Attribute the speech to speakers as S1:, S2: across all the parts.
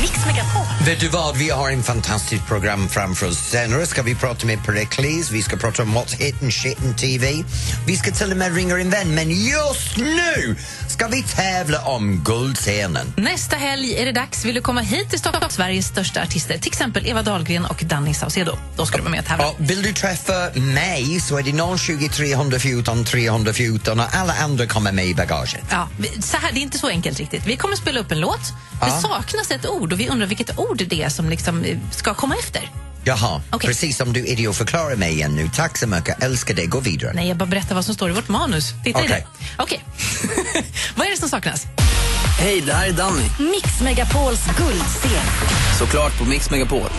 S1: Mix Megapol.
S2: Vet du vad, vi har en fantastiskt program framför oss. Senare ska vi prata med Pericles, vi ska prata om what's hitting, shitting TV. Vi ska till och med ringa en vän, men just nu ska vi tävla om Guldscenen.
S3: Nästa helg är det dags. Vill du komma hit till Stockholm, Sveriges största artister, till exempel Eva Dahlgren och Danny Saucedo, då ska du vara med och tävla.
S2: Ja, vill du träffa mig så är det 020 314 314 och alla andra kommer med i bagaget.
S3: Ja, vi- så här, det är inte så enkelt riktigt. Vi kommer spela upp en låt.
S2: Ja.
S3: Det saknas ett ord och vi undrar vilket ord det är som liksom eh, ska komma efter.
S2: Jaha,
S3: Okej.
S2: precis som du idiotförklarar mig igen nu. Tack så mycket, älskar dig, gå vidare.
S3: Nej, jag bara berättar vad som står i vårt manus. Titta i
S2: Okej.
S3: det. Okej. vad är det som saknas?
S4: Hej, det här är Danny.
S1: Mix Megapols guldscen.
S4: Såklart på Mix Megapol.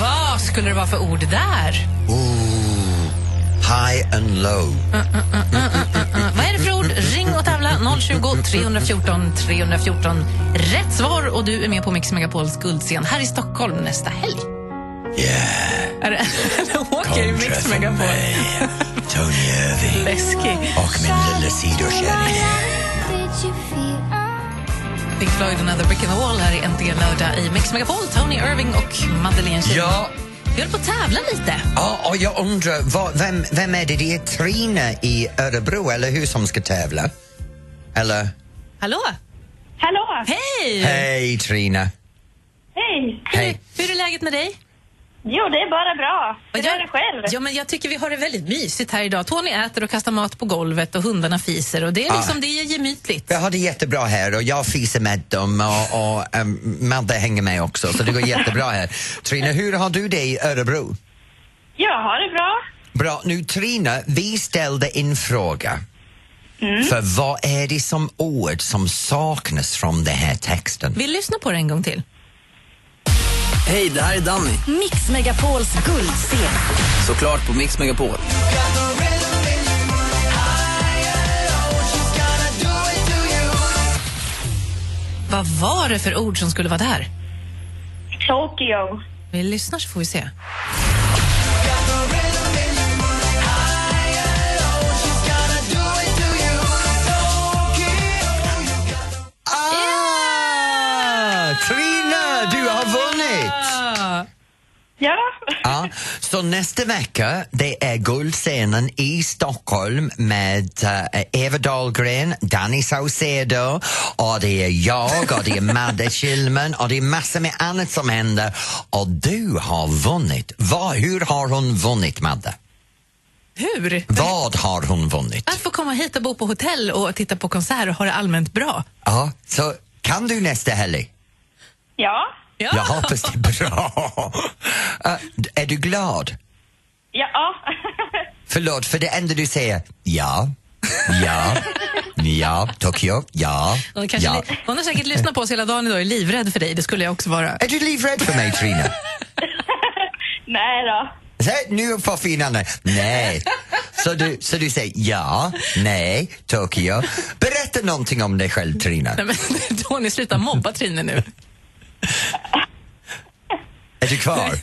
S3: Vad skulle det vara för ord där?
S2: High and low.
S3: Mm, vad är det för ord? Ring och tävla 020 314 314. Rätt svar och du är med på Mix Megapols guldscen här i Stockholm nästa helg.
S2: Yeah,
S3: Är det- Eller åker i Mix Megapol.
S2: Tony Irving
S3: Läskig.
S2: och min lilla sidokärring.
S3: Pink Floyd Another Brick in the Wall här i Äntligen lördag i Mix Megapol. Tony Irving och Madeleine Kihlman.
S2: Ja.
S3: Vi höll på att tävla lite.
S2: Ja, och jag undrar, vad, vem, vem är det? Det är Trina i Örebro, eller hur, som ska tävla? Eller?
S3: Hallå?
S5: Hallå!
S3: Hej!
S2: Hej, Trina.
S5: Hej!
S2: Hej.
S3: Hur är läget med dig?
S5: Jo, det är bara bra. Hur
S3: Jag-
S5: är det själv?
S3: Ja, men jag tycker vi har det väldigt mysigt här idag. Tony äter och kastar mat på golvet och hundarna fiser och det är liksom,
S2: Ah.
S3: det är gemytligt.
S2: Jag har det jättebra här och jag fiser med dem och, och um, Madde hänger med också, så det går jättebra här. Trina, hur har du det i Örebro?
S5: Jag har det bra.
S2: Bra, nu Trina, vi ställde en fråga. För vad är det som ord som saknas från den här texten?
S3: Vi lyssnar på det en gång till.
S4: Hej, det här är Danny.
S1: Mix Megapols guldscen.
S4: Såklart på Mix Megapol.
S3: Vad var det för ord som skulle vara där?
S5: Tokyo.
S3: Vi lyssnar så får vi se.
S2: Ah! Trina, du har vunnit!
S5: Ja.
S2: Ja, så nästa vecka det är guldscenen i Stockholm med eh, Eva Dahlgren, Danny Saucedo och det är jag och det är Madde Kilman och det är massor med annat som händer och du har vunnit. Vad, hur har hon vunnit, Madde?
S3: Hur?
S2: Vad har hon vunnit?
S3: Att få komma hit och bo på hotell och titta på konserter och ha det allmänt bra.
S2: Ja, så kan du nästa helg?
S5: Ja.
S3: Ja.
S2: Jag hoppas det är bra. Eh, är du glad?
S5: Ja.
S2: Förlåt, för det enda du säger, ja, ja, ja, Tokyo, ja,
S3: Hon, kanske
S2: ja.
S3: li- hon har säkert lyssnat på oss hela dagen idag och är livrädd för dig. Det skulle jag också vara.
S2: Är du livrädd för mig, Trina?
S5: Nej då.
S2: Säg nu på finande. Nej. Så du, så du säger ja, nej, Tokyo. Berätta någonting om dig själv, Trina.
S3: Nej, men Tony, sluta mobba Trine nu.
S2: Är du kvar?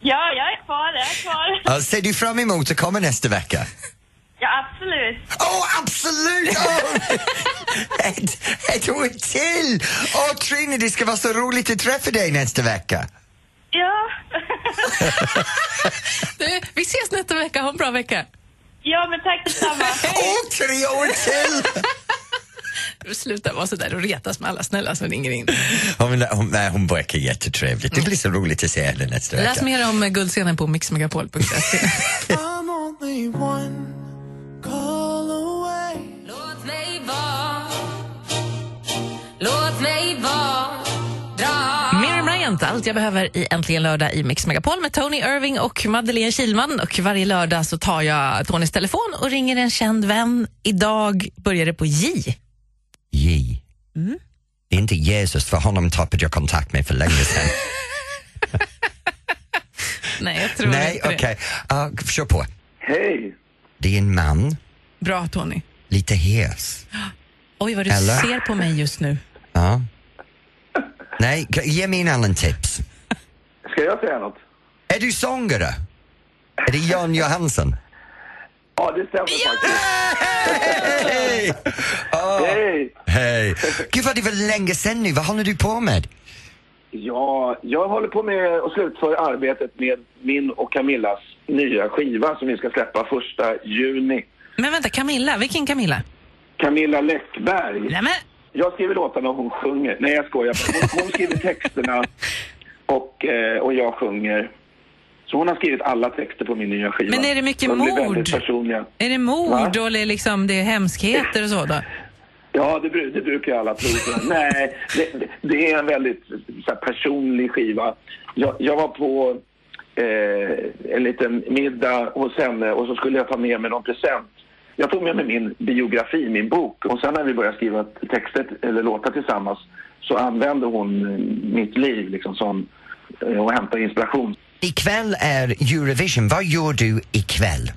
S5: Ja, jag är kvar. Jag är kvar.
S2: Ja, Ser du fram emot att komma nästa vecka?
S5: Ja, absolut.
S2: Åh, oh, absolut! Åh, Ett, ett år till! Åh, Trina, det ska vara så roligt att träffa dig nästa vecka.
S5: Ja.
S3: Du, vi ses nästa vecka. Ha en bra vecka.
S5: Ja, men tack detsamma.
S2: Åh, tre år till!
S3: Sluta vara så där och retas med alla snälla som ringer in.
S2: Hon, hon, nej, hon verkar jättetrevlig. Det blir så roligt att se henne nästa
S3: Läs
S2: vecka.
S3: mer om eh, guldscenen på mixmegapol.se.
S6: Låt mig vara Låt mig vara Dra
S3: Miriam Bryant, allt jag behöver i Äntligen lördag i Mix Megapol med Tony Irving och Madeleine Kilman. Och varje lördag så tar jag Tonys telefon och ringer en känd vän. Idag börjar det på J.
S2: J.
S3: Mm.
S2: Det är inte Jesus, för honom tappade jag kontakt med för länge sedan.
S3: Nej, jag tror
S2: nej,
S3: inte
S2: okej.
S3: det.
S2: Ja, kör på.
S7: Hej!
S2: Det är en man,
S3: Bra Tony.
S2: lite hes.
S3: Oj, vad du
S2: Eller?
S3: ser på mig just nu.
S2: Ja. Nej, g- ge mig en annan tips.
S7: Ska jag säga något?
S2: Är du sångare? Är det Jan Johansson?
S7: Ja, det stämmer faktiskt.
S2: Hej! Åh,
S7: Hej!
S2: Hej! Gud vad det var länge sedan nu, vad håller du på med?
S7: Ja, jag håller på med att slutföra arbetet med min och Camillas nya skiva som vi ska släppa första juni.
S3: Men vänta, Camilla, vilken Camilla?
S7: Camilla Läckberg.
S3: Nej, men,
S7: Jag skriver låtarna och hon sjunger. Nej, jag skojar. Hon, hon skriver texterna och, eh, och jag sjunger. Så hon har skrivit alla texter på min nya skiva.
S3: Men är det mycket
S7: De blir
S3: mord?
S7: väldigt personliga.
S3: är det mord
S7: Va?
S3: och det är liksom, det är hemskheter och så då?
S7: Ja, det, bru- det brukar ju alla tro. Nej, det, det- det är en väldigt så här, personlig skiva. Jag, jag var på eh, en liten middag hos henne och så skulle jag ta med mig någon present. Jag tog med mig min biografi, min bok. Och sen när vi började skriva texter eller låtar tillsammans så använde hon eh, mitt liv liksom som eh, och hämtade inspiration.
S2: Ikväll är Eurovision, vad gör du ikväll?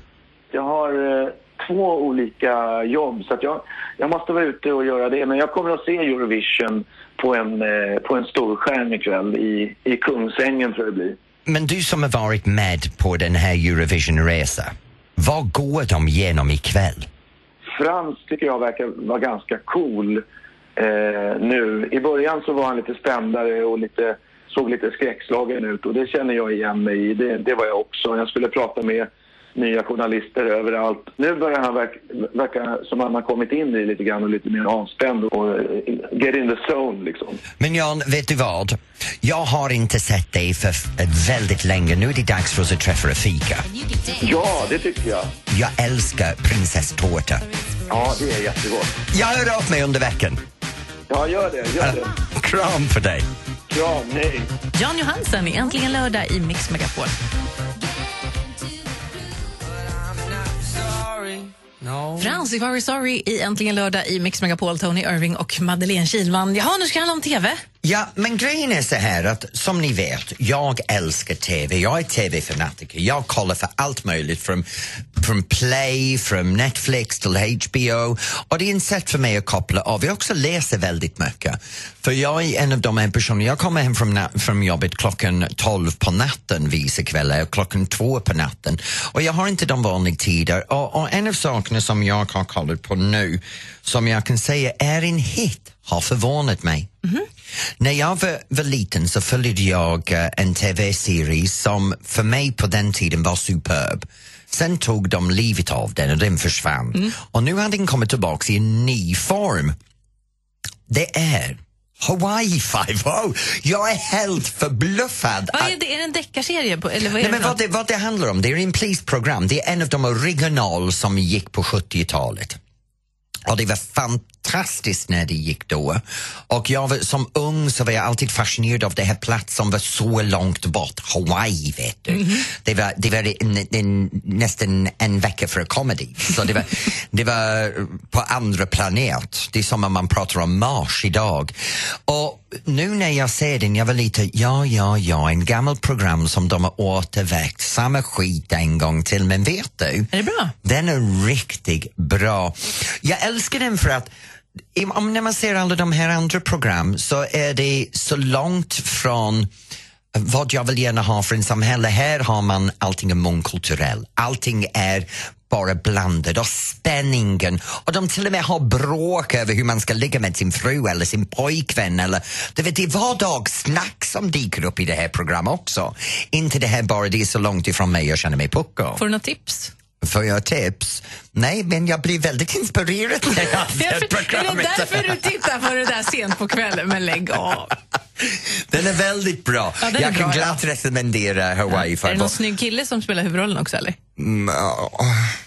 S7: Jag har eh, två olika jobb så att jag, jag måste vara ute och göra det. Men jag kommer att se Eurovision på en, eh, på en stor skärm ikväll i, i Kungsängen tror jag det blir.
S2: Men du som har varit med på den här Eurovision-resan, vad går de igenom ikväll?
S7: Frans tycker jag verkar vara ganska cool eh, nu. I början så var han lite spändare och lite, såg lite skräckslagen ut och det känner jag igen mig i. Det, det var jag också. Jag skulle prata med nya journalister överallt. Nu börjar han verk, verka som att han har kommit in i lite grann och lite mer avspänd och eh, get in the zone liksom.
S2: Men Jan, vet du vad? Jag har inte sett dig för f- väldigt länge. Nu är det dags för oss att träffa och fika.
S7: Ja, det tycker jag.
S2: Jag älskar prinsesstårta.
S7: Ja, det är jättegott.
S2: Jag hör av mig under veckan.
S7: Ja, gör det. Gör det.
S2: Kram för dig.
S7: Kram, hej.
S3: Jan Johansen i Äntligen lördag i Mix Megapol. Frans, if I were sorry i Äntligen lördag i Mix Megapol, Tony Irving och Madeleine Kilman. Jaha, nu ska det handla om TV.
S2: Ja, men grejen är så här att som ni vet, jag älskar TV. Jag är TV-fanatiker. Jag kollar för allt möjligt från, från Play, från Netflix till HBO. Och det är ett sätt för mig att koppla av. Jag också läser väldigt mycket. För jag är en av de här personerna, jag kommer hem från, na- från jobbet klockan 12 på natten vissa kvällar och klockan 2 på natten. Och jag har inte de vanliga tider. Och, och en av sakerna som jag har kollat på nu, som jag kan säga är en hit, har förvånat mig. När jag var, var liten så följde jag eh, en tv-serie som för mig på den tiden var superb. Sen tog de livet av den och den försvann.
S3: Mm.
S2: Och nu har den kommit tillbaka i en ny form. Det är Hawaii 5 Jag är helt förbluffad.
S3: Vad
S2: att-
S3: är, det, är det en deckarserie? på- Eller vad är
S2: Ah. Nej,
S3: det
S2: men
S3: för
S2: vad, det, vad det handlar om, det är en polisprogram. Det är en av de original som gick på 70-talet. Och det var fantastiskt när det gick då. Och jag var, som ung så var jag alltid fascinerad av det här plats som var så långt bort, Hawaii vet du. Det var, det var en, en, nästan en vecka för att komma dit. Så det var, det var på andra planet. Det är som om man pratar om Mars idag. Och nu när jag ser den, jag var lite, ja, ja, ja, en gammal program som de har återväckt, samma skit en gång till, men vet du?
S3: Är det bra?
S2: Den är riktigt bra. Jag älskar den för att i- om när man ser alla de här andra program så är det så långt från vad jag vill gärna ha för en samhälle. Här har man allting är mångkulturell. Allting är bara blandad och spänningen och de till och med har bråk över hur man ska ligga med sin fru eller sin pojkvän eller du vet, det är vardagssnack som dyker upp i det här programmet också. Inte det här bara, det är så långt ifrån mig jag känner mig pucko.
S3: Får du något tips?
S2: Får jag tips? Nej, men jag blir väldigt inspirerad när jag
S3: Jag
S2: ser
S3: för, är det
S2: programmet.
S3: därför du tittar på det där sent på kvällen? Men lägg
S2: Ah,
S3: av.
S2: Den är väldigt bra.
S3: Ja, den är
S2: jag kan
S3: bra, ja.
S2: glatt rekommendera Hawaii
S3: Är det någon
S2: Five-O.
S3: snygg kille som spelar huvudrollen också? Eller?
S2: Mm, ja.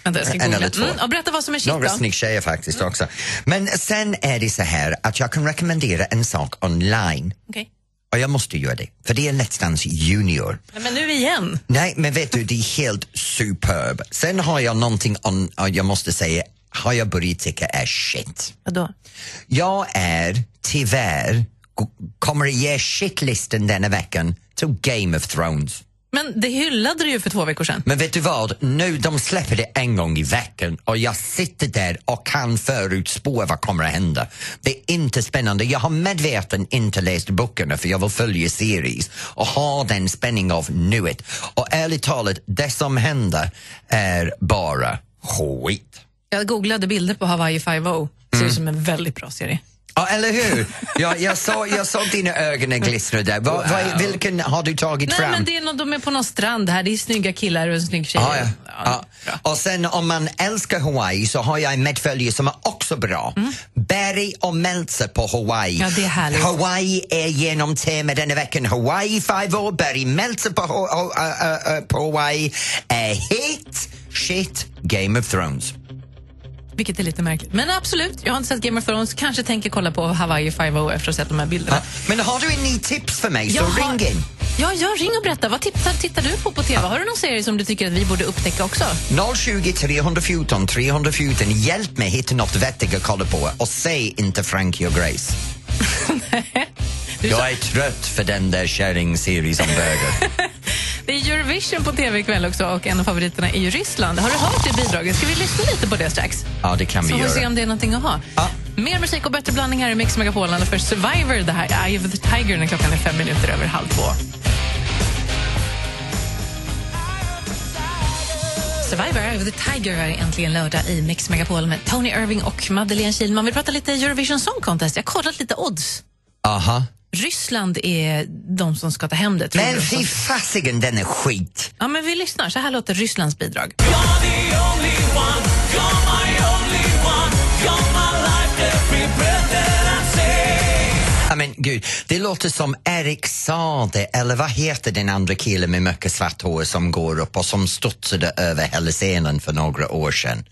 S3: Vänta, jag ska
S2: En
S3: googla.
S2: eller två.
S3: Mm, och berätta vad som är shit
S2: Några
S3: då.
S2: snygg-tjejer faktiskt
S3: Mm.
S2: också. Men sen är det så här att jag kan rekommendera en sak online.
S3: Okej.
S2: Och jag måste göra det, för det är Let's Dance Junior.
S3: Nej, Men nu igen.
S2: Nej, men vet du, det är helt superb. Sen har jag någonting on, jag måste säga, har jag börjat tycka är shit.
S3: Vadå?
S2: Jag är tyvärr, g- kommer att ge shitlisten denna veckan till Game of Thrones.
S3: Men det hyllade du ju för två veckor sedan.
S2: Men vet du vad? Nu de släpper det en gång i veckan och jag sitter där och kan förutspå vad kommer att hända. Det är inte spännande. Jag har medveten inte läst böckerna för jag vill följa series och ha den spänning av nuet. Och ärligt talat, det som händer är bara skit.
S3: Jag googlade bilder på Hawaii 5-0. Ser ut som en väldigt bra serie.
S2: Ja, eller hur? Ja, jag, såg, jag såg dina ögon glittra där. Va, va, vilken har du tagit
S3: Nej,
S2: fram?
S3: men det är någon, de är på någon strand här. Det är snygga killar och en snygg tjej.
S2: Ja, ja. Ja. Och sen om man älskar Hawaii så har jag en medföljare som är också bra. Berry och Meltzer på Hawaii.
S3: Mm. Ja, det är härligt.
S2: Hawaii är genom tema denna veckan. Hawaii five år, Berry Meltzer på, Ho- Ho- äh, äh, äh, på Hawaii är hit, shit, Game of Thrones.
S3: Vilket är lite märkligt. Men absolut, jag har inte sett Game of Thrones. Kanske tänker kolla på Hawaii 5-0 efter att ha sett de här bilderna.
S2: Ja. Men har du en ny tips för mig så
S3: Jag har-
S2: ring in.
S3: Ja, ja, ring och berätta. Vad tittar, tittar du på på TV? Har du någon serie som du tycker att vi borde upptäcka också?
S2: 020 314 314. Hjälp mig hitta något vettigt att kolla på och säg inte Frankie och Grace. Jag är trött för den där kärringserien som bögar.
S3: Det är Eurovision på TV ikväll också och en av favoriterna är ju Ryssland. Har du hört det bidraget? Ska vi lyssna lite på det strax?
S2: Ja, det Ah. kan
S3: Så
S2: vi
S3: får vi se
S2: göra.
S3: om det är någonting att ha.
S2: Ja.
S3: Mer musik och bättre blandning här i Mix Megapol Alla för Survivor. Det här är Eye of the Tiger när klockan är fem minuter över halv två. Survivor, Eye of the Tiger här är äntligen lördag i Mix Megapol med Tony Irving och Madeleine Kilman. Vi pratar lite Eurovision Song Contest. Jag har kollat lite odds.
S2: Aha.
S3: Ryssland är de som ska ta hem det. tror
S2: Men
S3: jag.
S2: fy fasiken, den är skit.
S3: Ja, men vi lyssnar. Så här låter Rysslands bidrag.
S2: Ja, men gud, det låter som Erik Sade, eller vad heter den andra killen med mycket svart hår som går upp och som studsade över hela scenen för några år sedan?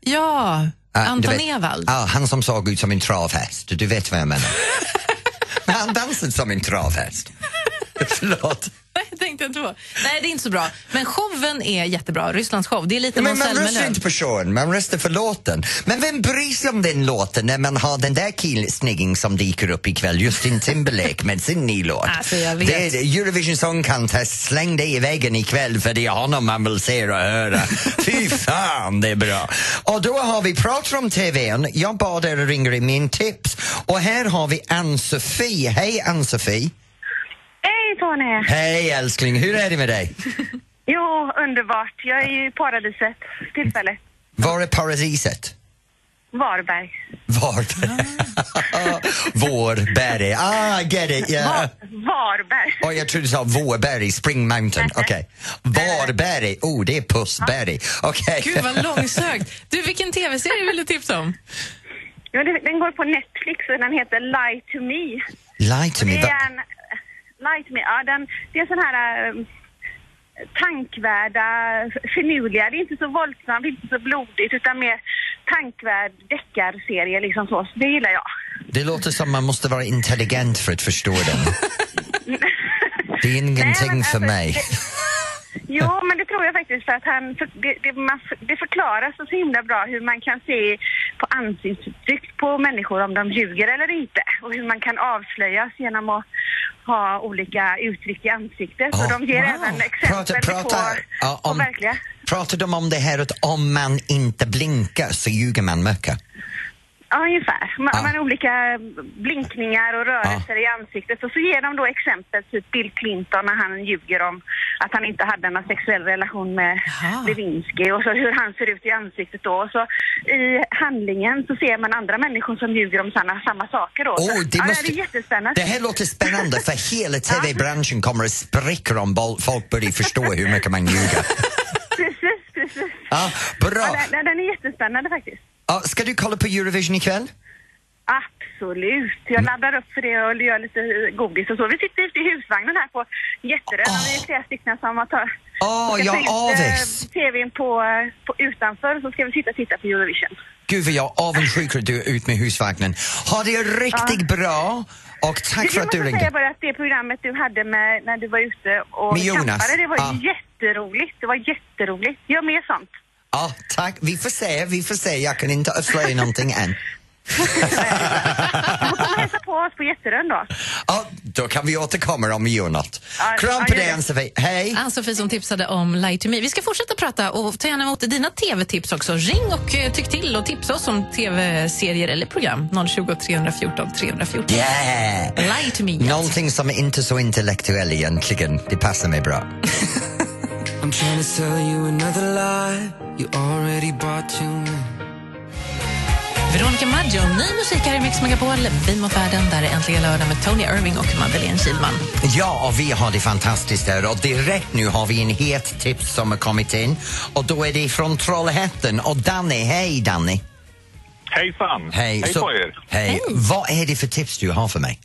S3: Ja,
S2: Ah, du
S3: Anton
S2: vet-
S3: Ewald.
S2: Ja, han som såg ut som en travhäst. Du vet vad jag menar. Men han dansade som en travhäst. Förlåt.
S3: Nej, jag tänkte inte på. Nej, det är inte så bra. Men showen är jättebra. Rysslands show. Det är lite
S2: Men
S3: Måns
S2: man röstar
S3: Zelmerlöw.
S2: inte på showen, man röstar för låten. Men vem bryr sig om den låten när man har den där killsnigging som dyker upp ikväll, Justin Timberlake med sin ny låt?
S3: Alltså, jag vet.
S2: Det är Eurovision Song Contest, släng dig i väggen ikväll för det är honom man vill se och höra. Fy fan, det är bra. Och då har vi pratat om TVn, jag bad er att ringa in min tips. Och här har vi Ann-Sofie. Hej Ann-Sofie!
S8: Hej Tony!
S2: Hej älskling, hur är det med dig?
S8: Jo, underbart. Jag är ju i paradiset för tillfället.
S2: Var är paradiset?
S8: Varberg.
S2: Varberg.
S8: Ah.
S2: Vårberg. Ah, I get it. Yeah.
S8: Var- Varberg.
S2: Oh, jag trodde du sa Vårberg, Spring Mountain. Okej. Varberg. Oh, det är Pussberg. Okej.
S3: Gud, vad långsökt. Du, vilken tv-serie vill du tipsa om?
S8: Jo, det- den går på Netflix och den heter Lie to me.
S2: Lie to me.
S8: Det
S2: Va-
S8: är en... Lie to me, ja den... Det är sån här... eh, tankvärda, finurliga. Det är inte så våldsamt, det är inte så blodigt utan mer tankvärd deckarserie liksom så. Det gillar jag.
S2: Det låter som man måste vara intelligent för att förstå den. Det är
S8: Nej, men
S2: ingenting
S8: alltså,
S2: för mig.
S8: Jo, men det tror jag faktiskt för att han, för det, det, man, det förklaras så himla bra hur man kan se på ansiktsuttryck på människor om de ljuger eller inte och hur man kan avslöjas genom att ha olika uttryck i ansiktet. och
S2: Ja.
S8: de ger
S3: Wow.
S8: även exempel
S2: Prata, prata,
S8: på,
S2: ja,
S8: på
S2: om,
S8: verkliga.
S2: pratar de om det här att om man inte blinkar så ljuger man mycket?
S8: Ja, ungefär. Man,
S2: Ja.
S8: man har olika blinkningar och rörelser i ansiktet. Och så ger de då exempel, typ Bill Clinton när han ljuger om att han inte hade någon sexuell relation med
S3: Jaha.
S8: Lewinsky och så hur han ser ut i ansiktet då. Och så i handlingen så ser man andra människor som ljuger om samma, samma saker då.
S2: Oh,
S8: så,
S2: det,
S8: ja,
S2: måste...
S8: det är jättespännande.
S2: Det här låter spännande för hela TV-branschen kommer att spricka om bol- folk börjar förstå hur mycket man ljuger.
S8: Precis, precis.
S2: Ja,
S8: Ja,
S2: bra!
S8: den, den är jättespännande faktiskt.
S2: Ja, ska du kolla på Eurovision ikväll?
S8: Absolut.
S2: Mm.
S8: Jag laddar upp för det och gör lite godis och så. Vi sitter ute i husvagnen här på Jätterö. men Vi är flera stycken som har tagit...
S2: Åh,
S8: ska
S2: jag
S8: ta ut,
S2: avundas.
S8: eh, TVn på, eh, på utanför så ska vi sitta och titta på Eurovision.
S2: Gud vad jag är avundsjuk att du är ut med husvagnen. Ha det riktigt bra och
S8: Du,
S2: tack för
S8: jag
S2: att du
S8: måste säga
S2: ringde.
S8: bara att det programmet du hade med när du var ute och
S2: Med Jonas? Ah.
S8: campade, det var
S2: Ja.
S8: jätteroligt. Det var jätteroligt. Gör mer sånt.
S2: Ja, tack. Vi får se, vi får se. Jag kan inte avslöja någonting än.
S8: Du får komma och hälsa på oss på Jätterön då.
S2: Ja, då kan vi återkomma om vi gör något.
S8: Ja,
S2: Kram
S8: ja,
S2: på
S8: gör
S2: dig,
S8: det.
S2: Ann-Sofie. Hej!
S3: Ann-Sofie Alltså, som tipsade om Lie to me. Vi ska fortsätta prata och ta gärna emot dina tv-tips också. Ring och eh, tyck till och tipsa oss om tv-serier eller program. 020 314 314.
S2: Yeah!
S3: Lie to me.
S2: Någonting som är inte så intellektuell egentligen, det passar mig bra.
S9: I'm trying to sell you another lie. You already bought too many.
S3: Veronica Maggio, ny musik här i Mix Megapol. Vi mot världen, där är äntligen lördag med Tony Irving och Madeleine Kilman.
S2: Ja, och vi har det fantastiskt där och direkt nu har vi en het tips som har kommit in och då är det från Trollhättan och Danny, hej Danny!
S10: Hejsan!
S2: så-
S10: på er!
S2: Hej. Vad är det för tips du har för mig?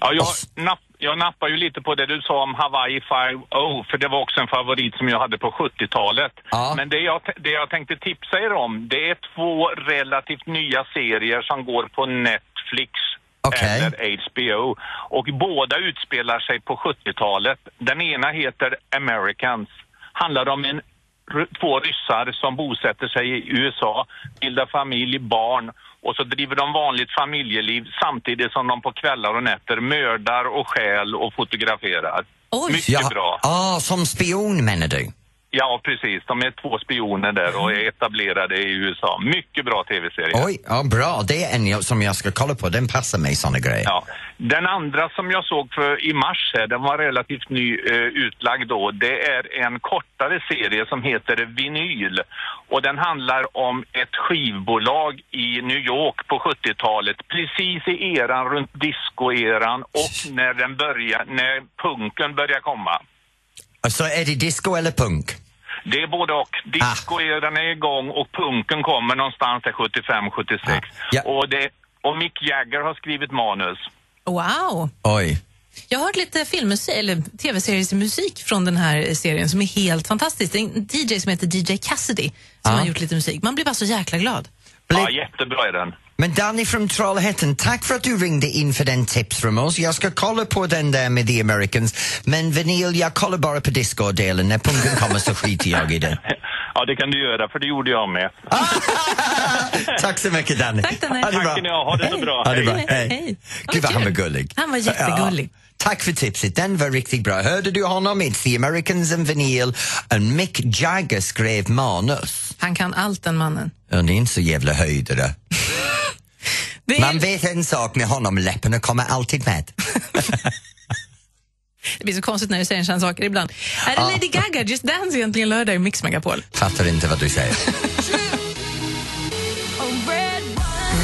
S10: Ja, jag,
S2: Och s-
S10: napp, jag nappar ju lite på det du sa om Hawaii 5.0 för det var också en favorit som jag hade på 70-talet.
S2: Ja.
S10: Men det jag, t- det jag tänkte tipsa er om det är två relativt nya serier som går på Netflix
S2: Okej.
S10: eller HBO. Och båda utspelar sig på 70-talet. Den ena heter Americans. Handlar om en, ry- två ryssar som bosätter sig i USA, bildar familj, barn och så driver de vanligt familjeliv samtidigt som de på kvällar och nätter mördar och stjäl och fotograferar.
S3: Oj.
S10: Mycket
S2: Ja,
S10: bra.
S2: ah, som spion menar du?
S10: Ja, precis. De är två spioner där och är etablerade i USA. Mycket bra tv-serie.
S2: Oj, ja, bra. Det är en jag- som jag ska kolla på. Den passar mig, såna grejer.
S10: Ja. Den andra som jag såg för, i mars här, den var relativt ny eh, utlagd då. Det är en kortare serie som heter Vinyl. Och den handlar om ett skivbolag i New York på 70-talet. Precis i eran runt disco-eran och när den börjar, när punken börjar komma.
S2: Så är det disco eller punk?
S10: Det är både och. Discoeran är igång och punken kommer någonstans där 75-76.
S2: Ja.
S10: Och, det- och Mick Jagger har skrivit manus.
S3: Wow!
S2: Oj.
S3: Jag har hört lite filmmusik, eller tv-seriesmusik från den här serien som är helt fantastisk. Det är en DJ som heter DJ Cassidy som
S2: Ja.
S3: har gjort lite musik. Man blir bara så jäkla glad.
S10: Ja, jättebra är den.
S2: Men Danny från Trollhättan, tack för att du ringde in för den tips från oss. Jag ska kolla på den där med The Americans, men vinyl, jag kollar bara på disco-delen. När punken kommer så skiter jag i det.
S10: Ja, det kan du göra, för det gjorde jag med.
S2: Tack så mycket Danny.
S3: Tack, Danny.
S2: Ha det bra.
S10: Tack ni ha. Ha det så bra.
S2: Ha det bra.
S3: Hej.
S2: Hej.
S3: Hej.
S2: Gud vad han var
S3: Kul.
S2: gullig.
S3: Han var jättegullig.
S2: Ja. Tack för tipset, den var riktigt bra. Hörde du honom? It's the Americans and Vinyl. Och Mick Jagger skrev manus.
S3: Han kan allt, den mannen.
S2: Och det är inte så jävla höjdare.
S3: Det
S2: Man
S3: är,
S2: vet en sak med honom, läpparna kommer alltid med.
S3: det blir så konstigt när du säger sådana saker ibland. Är det Lady Gaga, Just Dance, egentligen lördag i Mix Megapol?
S2: Fattar inte vad du säger.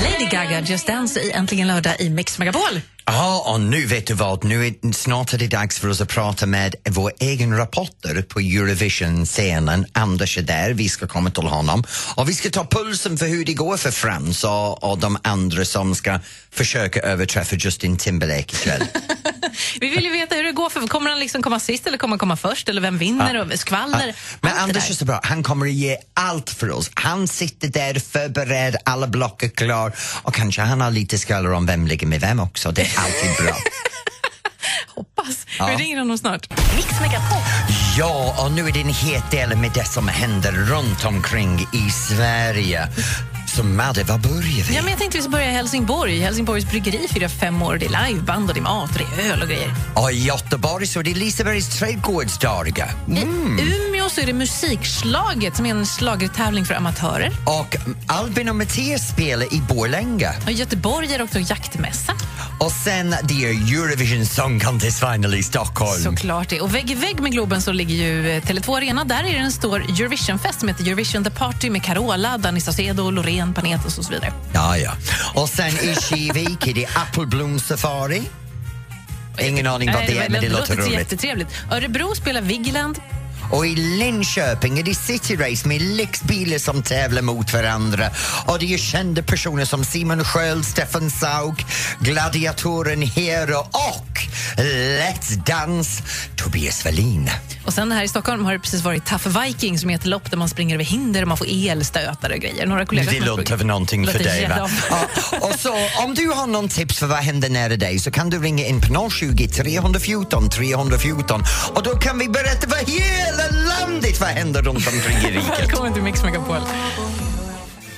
S3: Lady Gaga, Just Dance i Äntligen lördag i Mix Megapol.
S2: Ja, och nu vet du vad, nu är, snart är det dags för oss att prata med vår egen rapporter på Eurovision-scenen, Anders är där, vi ska komma till honom. Och vi ska ta pulsen för hur det går för Frans och, och de andra som ska försöka överträffa Justin Timberlake ikväll.
S3: Vi vill ju veta hur det går. För kommer han liksom komma sist eller kommer han komma först? Eller vem vinner? Och skvaller?
S2: Men
S3: Allt det
S2: Anders
S3: där.
S2: är så bra, han kommer att ge allt för oss. Han sitter där förberedd, alla block är klar och kanske han har lite skvaller om vem ligger med vem också, det är alltid bra.
S3: Hoppas. Vi ringer honom snart.
S1: Mix Megapol.
S2: Ja, och nu är det en het del med det som händer runt omkring i Sverige. Så Madde, var börjar vi?
S3: Ja, men jag tänkte vi ska börja i Helsingborg. Helsingborgs bryggeri firar fem år. Det är liveband och det är mat och det är öl och grejer.
S2: Och I Göteborg så är det Lisebergs trädgårdsdagar. Mm.
S3: I Umeå så är det musikslaget som är en schlagertävling för amatörer.
S2: Och Albin och Mattias spelar i Borlänge.
S3: Och I Göteborg är det också jaktmässa.
S2: Och sen det är Eurovision Song Contest Final i Stockholm.
S3: Såklart det. Och vägg i vägg med Globen så ligger ju eh, Tele2 Arena. Där är det en stor Eurovisionfest som heter Eurovision The Party med Carola, Danny Saucedo, Loreen, Panetos och så vidare.
S2: Ja, ja. Och sen i Kivik är det Appleblom Safari. Ingen aning vad
S3: Nej,
S2: det är, men det låter
S3: så
S2: roligt.
S3: jättetrevligt. Örebro spelar Vigeland.
S2: Och i Linköping är det cityrace med lyxbilar som tävlar mot varandra. Och det är kända personer som Simon Sköld, Stefan Sauk, gladiatoren Hero och Let's Dance Tobias Wallin.
S3: Och sen här i Stockholm har det precis varit Tough Viking som är ett lopp där man springer över hinder och man får elstötar och grejer. Några kollegor
S2: Det
S3: som har
S2: låter
S3: sprungit.
S2: väl någonting för
S3: Låter
S2: dig va?
S3: jättebra.
S2: Ja, och så om du har någon tips för vad händer nära dig så kan du ringa in på 020 314 314 och då kan vi berätta vad hela landet vad händer runt omkring i riket.
S3: Välkommen till Mix Megapol.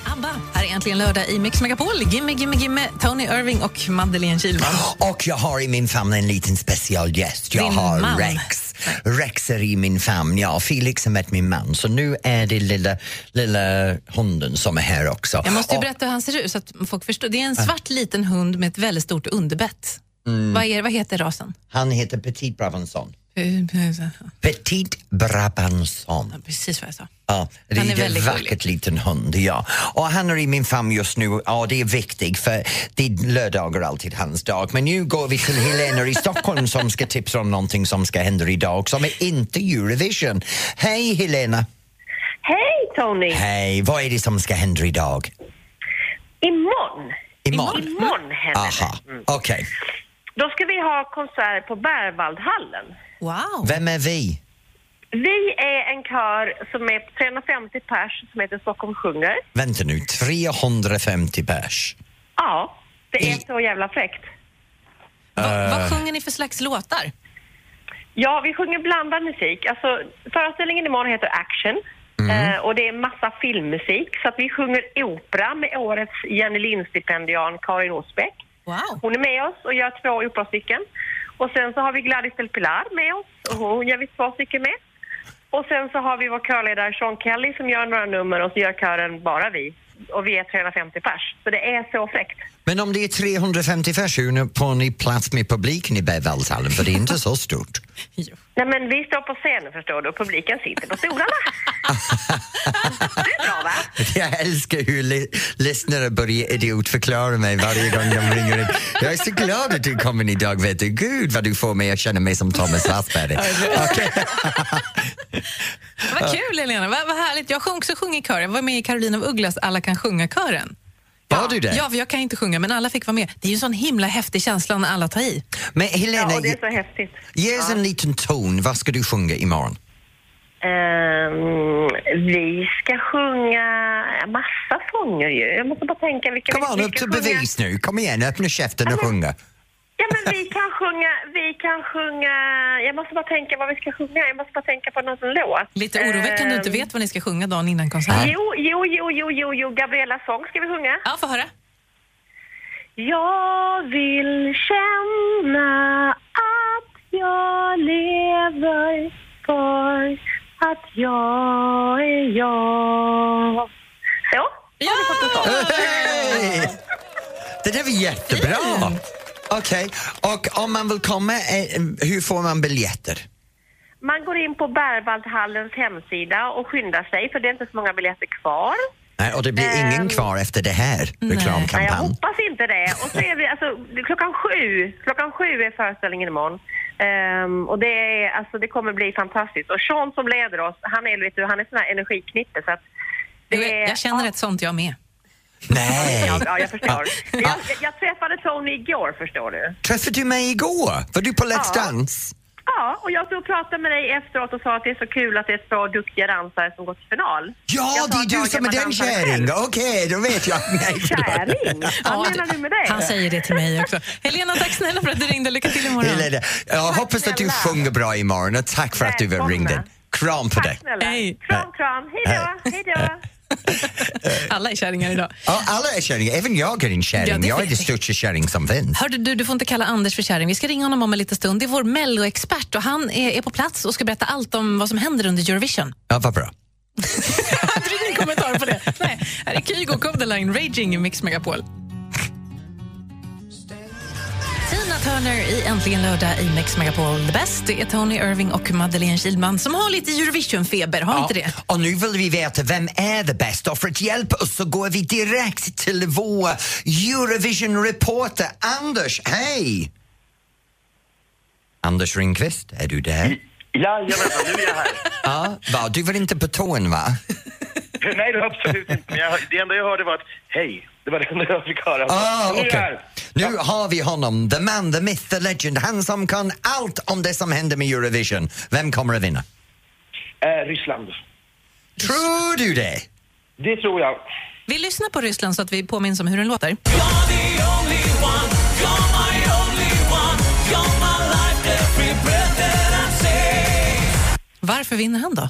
S3: ABBA, här är äntligen lördag i Mix Megapol. Gimme, gimme, gimme, Tony Irving och Madeleine Kilman.
S2: Och jag har i min famn en liten specialgäst. Jag
S3: Din
S2: har
S3: man.
S2: Rex. Rex är i min famn. Ja, Felix har med min man. Så nu är det lilla, lilla hunden som är här också.
S3: Jag måste ju
S2: Och-
S3: berätta hur han ser ut så att folk förstår. Det är en svart liten hund med ett väldigt stort underbett. Vad, är, vad heter rasen?
S2: Han heter Petit Brabanson.
S3: Eh,
S2: Petit Brabanson.
S3: Precis vad jag sa.
S2: Ja, det
S3: Han är
S2: är en
S3: väldigt
S2: vackert liten hund, ja. Och han är i min famn just nu, ja det är viktigt för det är lördagar alltid hans dag. Men nu går vi till Helena i Stockholm som ska tipsa om någonting som ska hända idag som är inte Eurovision. Hej Helena!
S11: Hej Tony!
S2: Hej, vad är det som ska hända idag?
S11: Imorgon!
S2: Imorgon?
S11: Imorgon händer
S2: Aha,
S11: det. Mm.
S2: okej.
S11: Då ska vi ha konsert på Berwaldhallen.
S3: Wow!
S2: Vem är vi?
S11: Vi är en kör som är 350 pers som heter Stockholm sjunger.
S2: Vänta nu, 350 pers.
S11: Ja, det är så jävla fräckt.
S2: Eh,
S3: sjunger ni för slags låtar?
S11: Ja, vi sjunger blandad musik. Alltså, föreställningen imorgon heter Action.
S2: Mhm.
S11: Eh, och det är massa filmmusik. Så att vi sjunger opera med årets Jenny Lind-stipendian Karin Osbeck.
S3: Wow.
S11: Hon är med oss och gör två operastycken. Och sen så har vi Gladys del Pilar med oss och hon gör vi två stycken med. Och sen så har vi vår körledare Sean Kelly som gör några nummer och så gör kören bara vi. Och vi är 350 pers. Så det är så fräckt.
S2: Men om det är 350 pers, hur får ni plats med publiken i Berwaldhallen? För det är inte så stort.
S11: Nej men vi står på scenen förstår du och publiken sitter på stolarna.
S2: Jag älskar hur li- lyssnare börjar idiotförklara mig varje gång de ringer in. Jag är så glad att du kom in idag, vet du. Gud vad du får mig att känna mig som Thomas Wassberg.
S3: Vad kul Helena, vad, vad härligt. Jag sjung, också sjunger i kören. Jag var med i Karolina av Ugglas Alla kan sjunga-kören.
S2: Var du det?
S3: Ja, för jag kan inte sjunga men alla fick vara med. Det är ju en sån himla häftig känsla när alla tar i.
S2: Men Helena,
S11: och det är så häftigt.
S2: ge oss en liten ton. Vad ska du sjunga imorgon?
S11: Ehm, vi ska sjunga massa sånger ju. Jag måste bara tänka vilka
S2: Kom
S11: vi-
S2: on,
S11: vi
S2: upp
S11: ska
S2: till
S11: sjunga.
S2: bevis nu. Kom igen, öppna käften och sjunga.
S11: Ja, men vi kan sjunga, vi kan sjunga, jag måste bara tänka vad vi ska sjunga, jag måste bara tänka på någon låt.
S3: Lite oroväckande att du
S11: Ehm,
S3: inte vet vad ni ska sjunga dagen innan konserten.
S11: Jo, jo, jo, jo, jo, jo, Gabrielas sång ska vi sjunga.
S3: Ja, få höra.
S11: Jag vill känna att jag lever för att jag är jag. Så, ja! Eh,
S2: Hej! Det där var jättebra!
S11: Mm.
S2: Okej, och om man vill komma, eh, hur får man biljetter?
S11: Man går in på Berwaldhallens hemsida och skyndar sig för det är inte så många biljetter kvar.
S2: Nej, och det blir ingen kvar efter det här
S11: Ehm. Nej, jag
S2: reklamkampanj.
S11: hoppas inte det. Och så är vi, alltså, klockan sju, klockan sju är föreställningen imorgon. Ehm, och det, är, alltså, det kommer bli fantastiskt. Och Sean som leder oss, han är, vet du, han är sån här energiknippe så att
S3: Jag, jag känner ett sånt jag med.
S2: Nej!
S11: Ja, ja, jag förstår. Jag, jag- jag träffade Tony igår, förstår du.
S2: Träffade du mig igår? Var du på Let's
S11: Ja.
S2: Dance?
S11: Ja, och jag stod och pratade med dig efteråt och sa att det är så kul att det är två duktiga dansare som går till final.
S2: Ja,
S11: Jag
S2: det
S11: sa att
S2: är
S11: jag
S2: du som är
S11: kan
S2: den
S11: dansa
S2: kärring.
S11: själv.
S2: Okej, då vet jag. Nej, förlåt.
S11: Kärring? Vad menar du med det?
S3: Han säger det till mig också. Helena, tack snälla för att du ringde. Lycka till imorgon.
S2: Helena, jag hoppas att du sjunger bra imorgon och tack för att du
S11: Välkomna.
S2: ringde. Kram på
S11: Tack
S2: dig.
S11: snälla.
S3: Hej.
S11: Kram, kram. Hej då. Hej då.
S3: Alla är kärringar idag.
S2: Ja, alla är kärringar, även jag är en
S3: Ja,
S2: kärring.
S3: det
S2: Jag är
S3: vet
S2: den
S3: jag.
S2: största kärring som finns.
S3: Hörde du, du får inte kalla Anders för kärring. Vi ska ringa honom om en liten stund. Det är vår Mello-expert och han är, är på plats och ska berätta allt om vad som händer under Eurovision.
S2: Ja, vad bra.
S3: Hade du ingen kommentar på det? Nej. Här är Kygo Codeline, Raging i Mix Megapol. Tina Turner i Äntligen lördag i Mix Megapol The Best. Det är Tony Irving och Madeleine Kilman som har lite Eurovision-feber, har inte det?
S2: Och nu vill vi veta vem är det bästa och för att hjälpa oss så går vi direkt till vår Eurovision-reporter Anders. Hej! Anders Ringqvist, är du
S12: Mm.
S2: där?
S12: Jajamensan, nu är jag här.
S2: Ja, va? Du var inte på tån va?
S12: Nej, det var absolut inte. Men jag, det enda jag hörde var att hej. Det var det enda jag fick höra.
S2: Ah,
S12: Nu är jag
S2: okej.
S12: här.
S2: Nu har vi honom, the man, the myth, the legend, han som kan allt om det som händer med Eurovision. Vem kommer att vinna?
S12: Eh, Ryssland.
S2: Tror du det?
S12: Det tror jag.
S3: Vi lyssnar på Ryssland så att vi påminns om hur den låter. Varför vinner han då?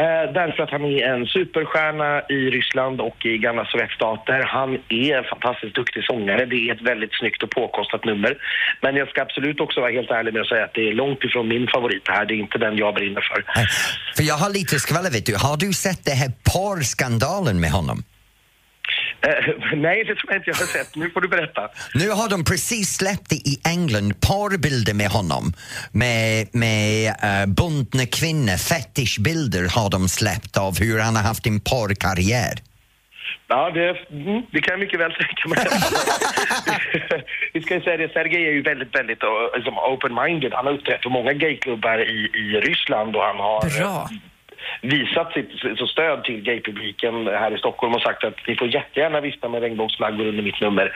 S12: Eh, därför att han är en superstjärna i Ryssland och i gamla Sovjetstater. Han är en fantastiskt duktig sångare. Det är ett väldigt snyggt och påkostat nummer. Men jag ska absolut också vara helt ärlig med att säga att det är långt ifrån min favorit det här. Det är inte den jag brinner för.
S2: För jag har lite skvaller vet du. Har du sett det här porrskandalen med honom?
S12: Eh, nej, det tror jag inte jag har sett. Nu får du berätta.
S2: Nu har de precis släppt det i England parbilder med honom. Med, med eh, bundna kvinnor, fetishbilder har de släppt av hur han har haft en porrkarriär.
S12: Ja, det, mm, det kan jag mycket väl tänka mig. Vi ska ju säga det, Sergej är ju väldigt, väldigt eh, liksom open-minded. Han har uppträtt på många gayklubbar i, i Ryssland och han har eh,
S3: Bra.
S12: visat sitt sitt stöd till gaypubliken här i Stockholm och sagt att ni får jättegärna vifta med regnbågsflaggor under mitt nummer.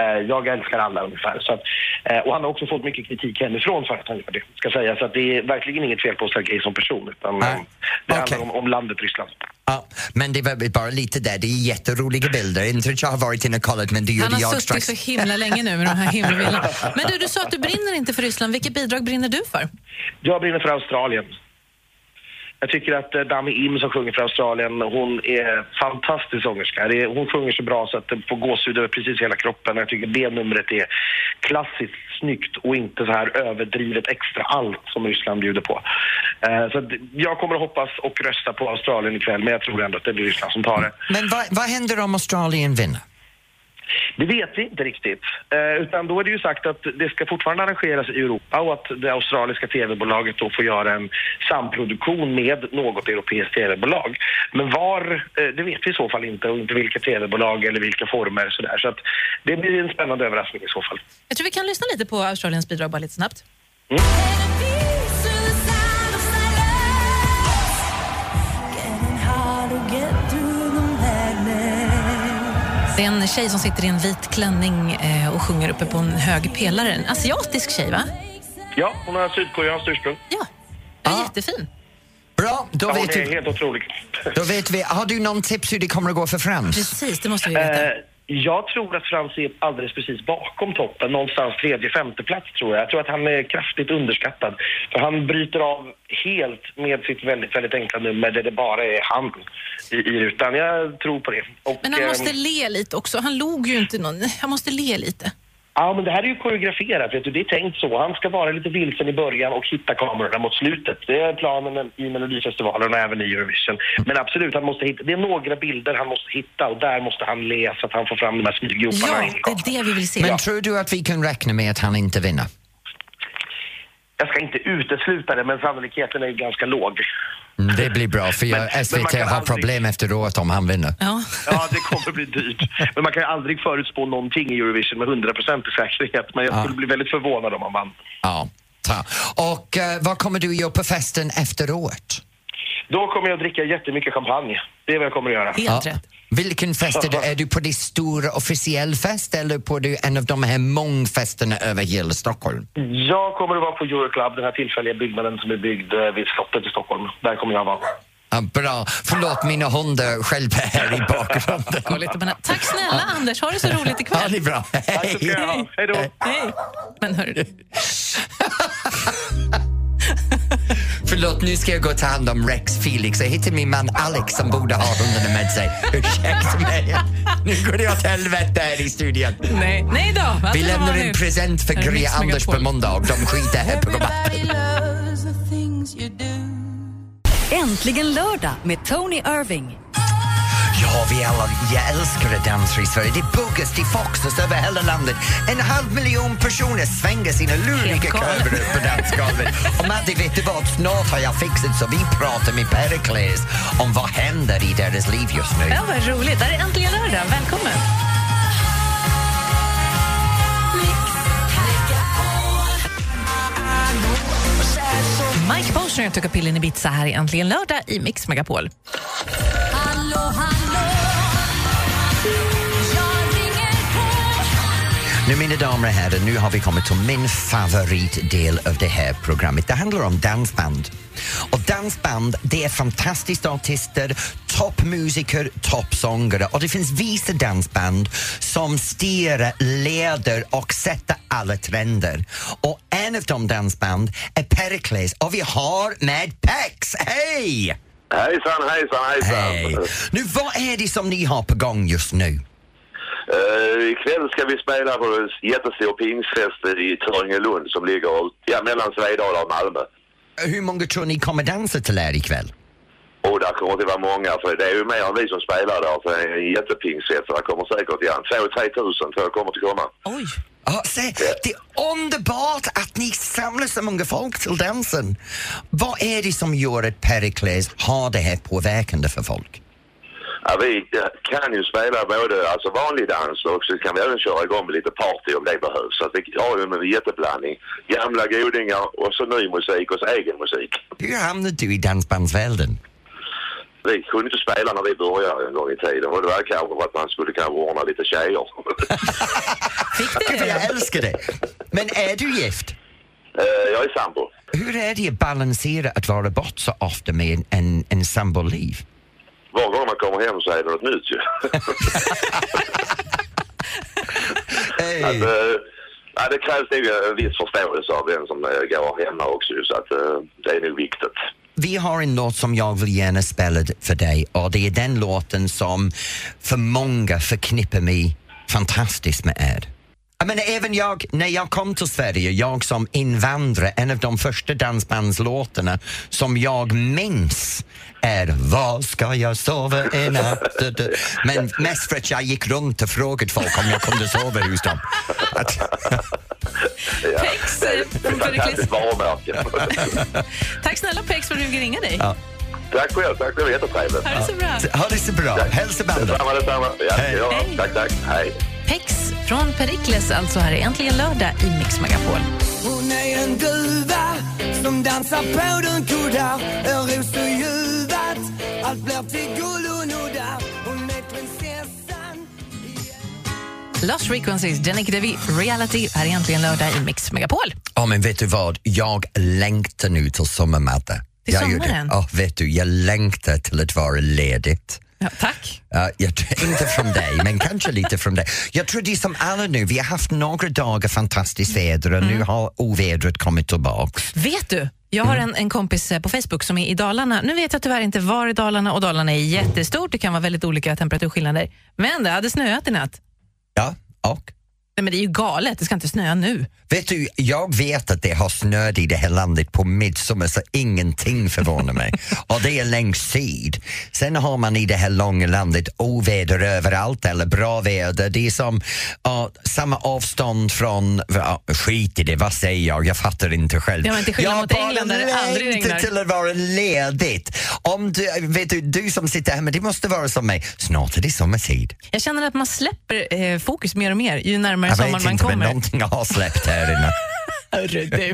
S12: Eh, jag älskar alla ungefär. Så att, eh, och han har också fått mycket kritik hemifrån för att han gör det, ska säga. Så att det är verkligen inget fel på Sergej som person, utan eh, det handlar om, om landet Ryssland.
S2: Ja, men det var bara lite där, det är jätteroliga bilder. Inte att jag har varit inne och kollat men det
S3: Han
S2: gjorde
S3: har
S2: jag
S3: suttit
S2: strax.
S3: så himla länge nu med de här himla bilderna. Men du, du sa att du brinner inte för Ryssland. Vilket bidrag brinner du för?
S12: Jag brinner för Australien. Jag tycker att eh, Dami Im som sjunger för Australien, hon är fantastisk sångerska. Det är, hon sjunger så bra så att det får gåshud över precis hela kroppen. Jag tycker det numret är klassiskt snyggt och inte så här överdrivet extra allt som Ryssland bjuder på. Eh, så att jag kommer att hoppas och rösta på Australien ikväll, men jag tror ändå att det blir Ryssland som tar det.
S2: Men vad, vad händer om Australien vinner?
S12: Det vet vi inte riktigt. Eh, utan då är det ju sagt att det ska fortfarande arrangeras i Europa och att det australiska tv-bolaget då får göra en samproduktion med något europeiskt tv-bolag. Men var, eh, det vet vi i så fall inte och inte vilka tv-bolag eller vilka former sådär. Så att det blir en spännande överraskning i så fall.
S3: Jag tror vi kan lyssna lite på Australiens bidrag bara lite snabbt. Det är en tjej som sitter i en vit klänning eh, och sjunger uppe på en hög pelare. En asiatisk tjej, va?
S12: Ja, hon har sydkoreanskt ursprung.
S3: Ja, är jättefin.
S2: Bra, då
S12: ja, hon
S2: vet
S12: är
S2: du.
S12: helt otrolig.
S2: Då vet vi. Har du någon tips hur det kommer att gå för Frans?
S3: Precis, det måste vi
S12: Eh, jag tror att Frans är alldeles precis bakom toppen, någonstans tredje, femte plats tror jag. Jag tror att han är kraftigt underskattad. För han bryter av helt med sitt väldigt, väldigt enkla nummer där det bara är han i, i rutan. Jag tror på det. Och,
S3: Men
S2: eh,
S3: han måste
S12: ehm,
S3: le lite också. Han log ju inte någon. Han måste le lite.
S12: Ja, men det här är ju koreograferat, vet du. Det är tänkt så. Han ska vara lite vilsen i början och hitta kamerorna mot slutet. Det är planen i Melodifestivalen och även i Eurovision. Men absolut, han måste hitta. Det är några bilder han måste hitta och där måste han le så att han får fram de här smyggroparna. in i kameran.
S3: det är det vi vill
S2: Oh, Men tror du att vi kan räkna med att han inte vinner?
S12: Jag ska inte utesluta det, men sannolikheten är ju ganska låg.
S2: Mm, Det blir bra för jag,
S12: Men- men man
S2: SVT
S12: kan
S2: har
S12: aldrig-
S2: problem efteråt om han vinner.
S3: Ja.
S12: ja, det kommer bli dyrt. Men man kan ju aldrig förutspå någonting i Eurovision med 100% säkerhet. Men jag skulle bli väldigt förvånad om han vann.
S2: Ja. ta. Och eh, vad kommer du göra på festen efteråt?
S12: Då kommer jag att dricka jättemycket champagne. Det är vad jag kommer att göra.
S2: Ja. Vilken fest är du? Är du på det stora officiell fest eller på det, en av de här mångfesterna över hela Stockholm?
S12: Jag kommer att vara på Euroclub, den här tillfälliga byggnaden som är byggd eh, vid slottet i Stockholm. Där kommer jag vara.
S2: Ja, bra. Förlåt, mina hundar skälper här i bakgrunden.
S3: Tack snälla Anders, ha det så roligt ikväll.
S2: Ja, det är bra. Hej!
S12: Hej då.
S3: Hej. Men hörru,
S2: Förlåt, nu ska jag gå och ta hand om Rex Felix. Jag hittade min man Alex som borde ha hundarna med sig. Ursäkta mig. Nu går det åt helvete här i studion.
S3: nej. Nej då. vad
S2: Vi
S3: ska det
S2: lämnar
S3: vara
S2: en
S3: nu?
S2: present för
S3: Är det
S2: Gry
S3: Mix
S2: Anders på
S3: Megapol?
S2: måndag. De skiter här på
S1: Äntligen lördag med Tony Irving.
S2: Ja, vi alla, jag älskar att dansa i Sverige. Det buggas, det foxas över hela landet. En halv miljon personer svänger sina luriga
S13: galet.
S2: kurvor upp på dansgolvet. Och Madde, vet du vad? Snart har jag fixat så vi pratar med Pericles om vad händer i deras liv just nu.
S3: Ja, vad roligt. Det här är äntligen lördag. Välkommen. Mike Posner och Tuckapillen Ibiza här i Äntligen lördag i Mix Megapol.
S2: Nu mina damer och herrar, nu har vi kommit till min favoritdel av det här programmet. Det handlar om dansband. Och dansband, det är fantastiska artister, toppmusiker, toppsångare och det finns vissa dansband som styr, leder och sätter alla trender. Och en av de dansband är Pericles och vi har med Pex! Hej!
S14: Hejsan, hejsan, hejsan.
S2: Hej! Nu, vad är det som ni har på gång just nu?
S14: Eh, ikväll ska vi spela på en jättestor pingsfest i Töringelund som ligger ja, mellan Svedala och Malmö.
S2: Hur många tror ni kommer dansa till er ikväll?
S14: Och där kommer det vara många, för det är ju mer än vi som spelar där. Så det är en jättepingsfest, så det kommer säkert igen. 2-3 tusen tror jag kommer till komma.
S3: Oj!
S2: Ja, se, det är underbart att ni samlar så många folk till dansen. Vad är det som gör att Pericles har det här påverkande för folk?
S14: Ja, vi eh, kan ju spela både alltså vanlig dans och så kan vi även köra igång med lite party om det behövs. Så att vi har ju en jätteblandning. Gamla godingar och så ny musik och så egen musik.
S2: Hur hamnade du i dansbandsvärlden?
S14: Vi kunde inte spela när vi började en gång i tiden och det var kanske för att man skulle kanske ordna lite tjejer.
S2: Gud, vad jag älskar det! Men är du gift?
S14: Eh, jag är sambo.
S2: Hur är det att balansera att vara bort så ofta med en, en, en samboliv?
S14: Var gång man kommer hem så är det något nytt ju. att, eh, ja, det krävs nog en viss förståelse av den som eh, går hemma också ju, så att eh, det är nog viktigt.
S2: Vi har en låt som jag vill gärna spela d- för dig och det är den låten som för många förknippar mig fantastiskt med er. Jag menar, även jag, när jag kom till Sverige, jag som invandrare, en av de första dansbandslåtarna som jag minns är Var ska jag sova i natt? Men mest för att jag gick runt och frågade folk om jag kunde sova hos dem. Att-
S14: Ja.
S3: Pex,
S14: Det är
S3: eh,
S14: ett fantastiskt varumärke.
S3: Tack snälla Pex för att du fick ringa dig.
S2: Ja.
S14: tack själv, tack. Det var jättetrevligt.
S3: Ha det så bra.
S2: Ha det så bra. Hälsa bandet.
S14: Detsamma, detsamma. Ja, ja, tack, tack. Hej.
S3: Pex från Perikles, alltså här är äntligen lördag i Mix Megapol.
S9: Hon är en duva som dansar på den kudda En ros och ljuvat, allt blir till guld och nudda Hon är prinsessan
S3: Lost Frequencies, Jannik Devi, Reality, här är äntligen lördag i Mix Megapol.
S2: Ja, men vet du vad? Jag längtar nu till sommarmatta.
S3: Till
S2: jag gör det.
S3: sommaren?
S2: Ja, vet du, jag längtar till att vara ledigt.
S3: Ja, tack.
S2: Ja, jag, tror- inte från dig, men kanske lite från dig. Jag tror det är som alla nu, vi har haft några dagar fantastiskt väder och
S3: Mm.
S2: nu har ovädret kommit tillbaks.
S3: Vet du, jag har en, en kompis eh, på Facebook som är i Dalarna. Nu vet jag tyvärr inte var i Dalarna och Dalarna är jättestort. Det kan vara väldigt olika temperaturskillnader. Men det hade snöat i natt.
S2: Ja, och?
S3: Nej, men det är ju galet, det ska inte snöa nu.
S2: Vet du, jag vet att det har snöat i det här landet på midsommar så ingenting förvånar mig. Och det är längs syd. Sen har man i det här långa landet oväder överallt eller bra väder. Det är som ja, samma avstånd från... ja, skit i det, vad säger jag? Jag fattar inte själv.
S3: Ja, men till skillnad
S2: jag
S3: mot England där det aldrig
S2: längtar
S3: regnar.
S2: till att vara ledigt. Om du, vet du, du som sitter hemma, det måste vara som mig. Snart är det sommartid.
S3: Jag känner att man släpper eh, fokus mer och mer ju närmare
S2: Jag
S3: sommaren
S2: vet
S3: man
S2: inte, men
S3: kommer.
S2: någonting har släppt här inne.
S3: Hörru du,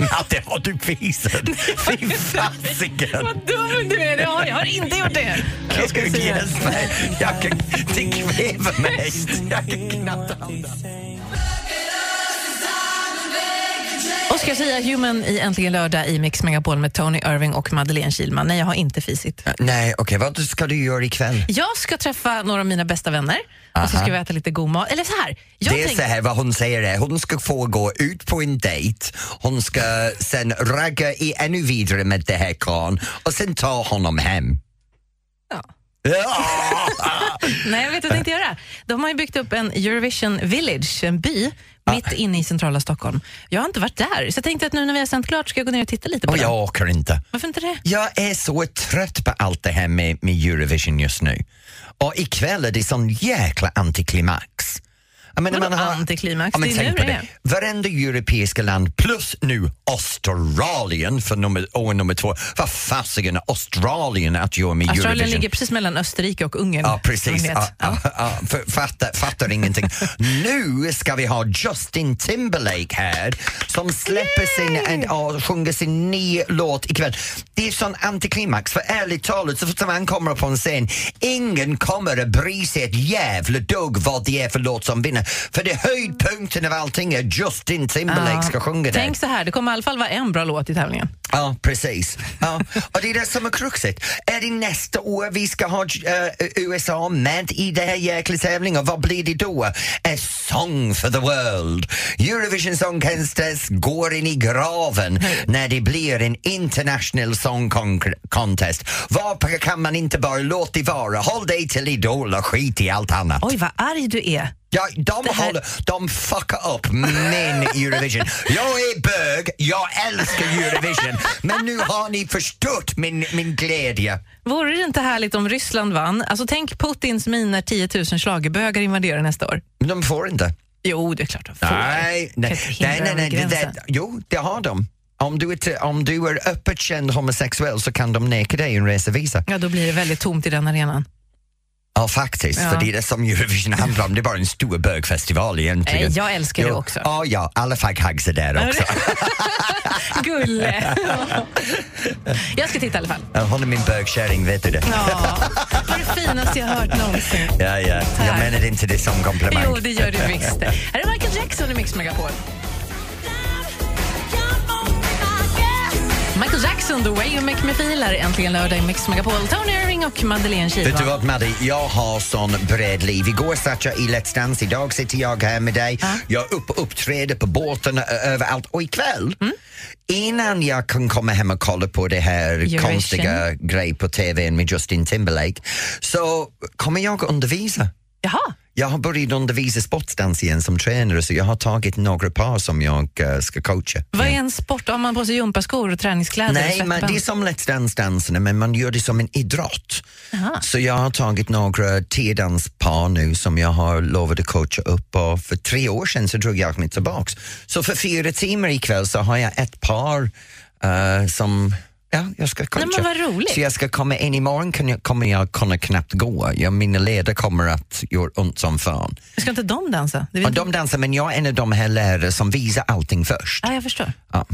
S2: Ja, det har du visat. Fy fasiken.
S3: vad dum du är! Det har, jag har inte gjort det. Jag ska
S2: Gud,
S3: säga.
S2: hjälp mig. Jag kan, det kväver mig. Jag kan knappt andas.
S3: Och ska jag säga Human i Äntligen lördag i Mix Megapol med Tony Irving och Madeleine Kilman. Nej, jag har inte fisit.
S2: Nej, okej, vad ska du göra ikväll?
S3: Jag ska träffa några av mina bästa vänner och så
S2: Aha.
S3: ska vi äta lite god mat. Eller så här, jag
S2: det är
S3: tänk-
S2: så här vad hon säger är, hon ska få gå ut på en dejt, hon ska sen ragga i ännu vidare med det här karln och sen ta honom hem.
S3: Ja.
S2: Ja!
S3: Nej, jag vet vad jag tänkte göra. De har ju byggt upp en Eurovision Village, en by, mitt inne i centrala Stockholm. Jag har inte varit där, så jag tänkte att nu när vi har sänt klart ska jag gå ner och titta lite på
S2: Och
S3: den.
S2: jag åker inte.
S3: Varför inte det?
S2: Jag är så trött på allt det här med, med Eurovision just nu. Och ikväll är det sån jäkla antiklimax. Jag menar,
S3: Vadå antiklimax?
S2: Ja, men
S3: Det är
S2: tänk
S3: nu
S2: på
S3: det
S2: det.
S3: är.
S2: Varenda europeiska land plus nu Australien för nummer, år nummer två. Vad fasiken har Australien att göra med
S3: Australien
S2: Eurovision?
S3: ligger precis mellan Österrike och Ungern.
S2: Ja, precis.
S3: som ni vet.
S2: Ja, ja, ja, för- fattar, fattar ingenting. nu ska vi ha Justin Timberlake här som släpper sin, en, och sjunger sin nya låt ikväll. Det är sån antiklimax, för ärligt talat, så fort som han kommer upp på en scen, ingen kommer att bry sig ett jävla dugg vad det är för låt som vinner. För det höjdpunkten av allting är Justin Timberlake ska sjunga den.
S3: Tänk så här, det kommer i alla fall vara en bra låt i tävlingen.
S2: Ja, precis. Ja. Och det är det som är kruxet. Är det nästa år vi ska ha eh, USA med i den här jäkla tävlingen? Vad blir det då? A song for the world. Eurovision Song Contest går in i graven när det blir en international song con- contest. Varför kan man inte bara låta det vara? Håll dig till Idol och skit i allt annat.
S3: Oj, vad arg du är.
S2: Ja, de, håller, de fuckar upp min Eurovision. Jag är bög, jag älskar Eurovision, men nu har ni förstört min, min glädje.
S3: Vore det inte härligt om Ryssland vann? Alltså tänk Putins min när 10 000 schlagerbögar invaderar nästa år.
S2: De får inte.
S3: Jo, det är klart de får.
S2: Nej, nej,
S3: Kan inte
S2: nej, nej,
S3: hindra
S2: nej.
S3: dem
S2: Det,
S3: vid
S2: det,
S3: gränsen.
S2: jo, det har de. Om du, är, t- om du är öppet känd homosexuell så kan de neka dig en resevisa.
S3: Ja, då blir det väldigt tomt i den arenan.
S2: Ja, faktiskt.
S3: Ja.
S2: För det är det som Eurovision handlar om. Det är bara en stor bögfestival egentligen.
S3: Nej, Eh, jag älskar det också.
S2: Ja, ja. Alla fagghags är där också.
S3: Gulle! jag ska titta i alla fall.
S2: Hon är min bögkärring, vet du det?
S3: Ja, det var det finaste jag hört någonsin.
S2: Ja, ja. Jag
S3: Tack.
S2: menade inte det som komplimang.
S3: Jo, det gör du visst. Här är Michael Jackson i Mix Megapol. Michael Jackson, The Way You Make Me Feel, här är äntligen lördag i Mix Megapol. Tony Irving och Madeleine
S2: Vet du
S3: Kihlman.
S2: vad Madde, jag har sån bred liv. Igår satt jag i Let's Dance, idag sitter jag här med dig. Jag är uppe och uppträder på båten ö- överallt och ikväll
S3: Mm.
S2: innan jag kan komma hem och kolla på det här
S13: Eurovision.
S2: konstiga grej på TV med Justin Timberlake så kommer jag att undervisa.
S3: Jaha.
S2: Jag har börjat undervisa sportdans igen som tränare så jag har tagit några par som jag eh, ska coacha.
S3: Vad är en sport om man har på sig gympaskor och träningskläder?
S2: Nej,
S3: och
S2: men
S3: svettband?
S2: det är som Let's Dance-danserna men man gör det som en idrott.
S3: Jaha.
S2: Så jag har tagit några tedanspar nu som jag har lovat att coacha upp och för tre år sedan så drog jag mig tillbaks. Så för fyra timmar ikväll så har jag ett par eh, som ja, jag ska coacha.
S3: men vad roligt.
S2: Så jag ska komma in imorgon kan jag, kommer jag kunna knappt gå. Jag, mina leder kommer att göra ont som fan.
S3: Ska inte de dansa? Det
S2: Och de dansar men jag är en av de här lärare som visar allting först.
S3: Ja, jag förstår.
S2: Ja.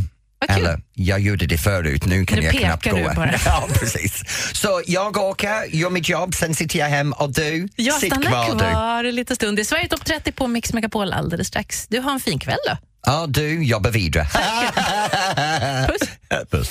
S2: Eller, jag gjorde det förut, nu kan
S3: Nu
S2: jag
S3: pekar
S2: knappt gå.
S3: du bara.
S2: Ja, precis. Så jag åker, gör mitt jobb, sen sitter jag hem och du,
S3: Jag
S2: sitt
S3: stannar
S2: kvar,
S3: kvar,
S2: du.
S3: en liten stund. Det är Sverige Topp 30 på Mix Megapol alldeles strax. Du har en fin kväll då.
S2: Ja, du jobbar vidare.
S3: Puss.
S2: Puss.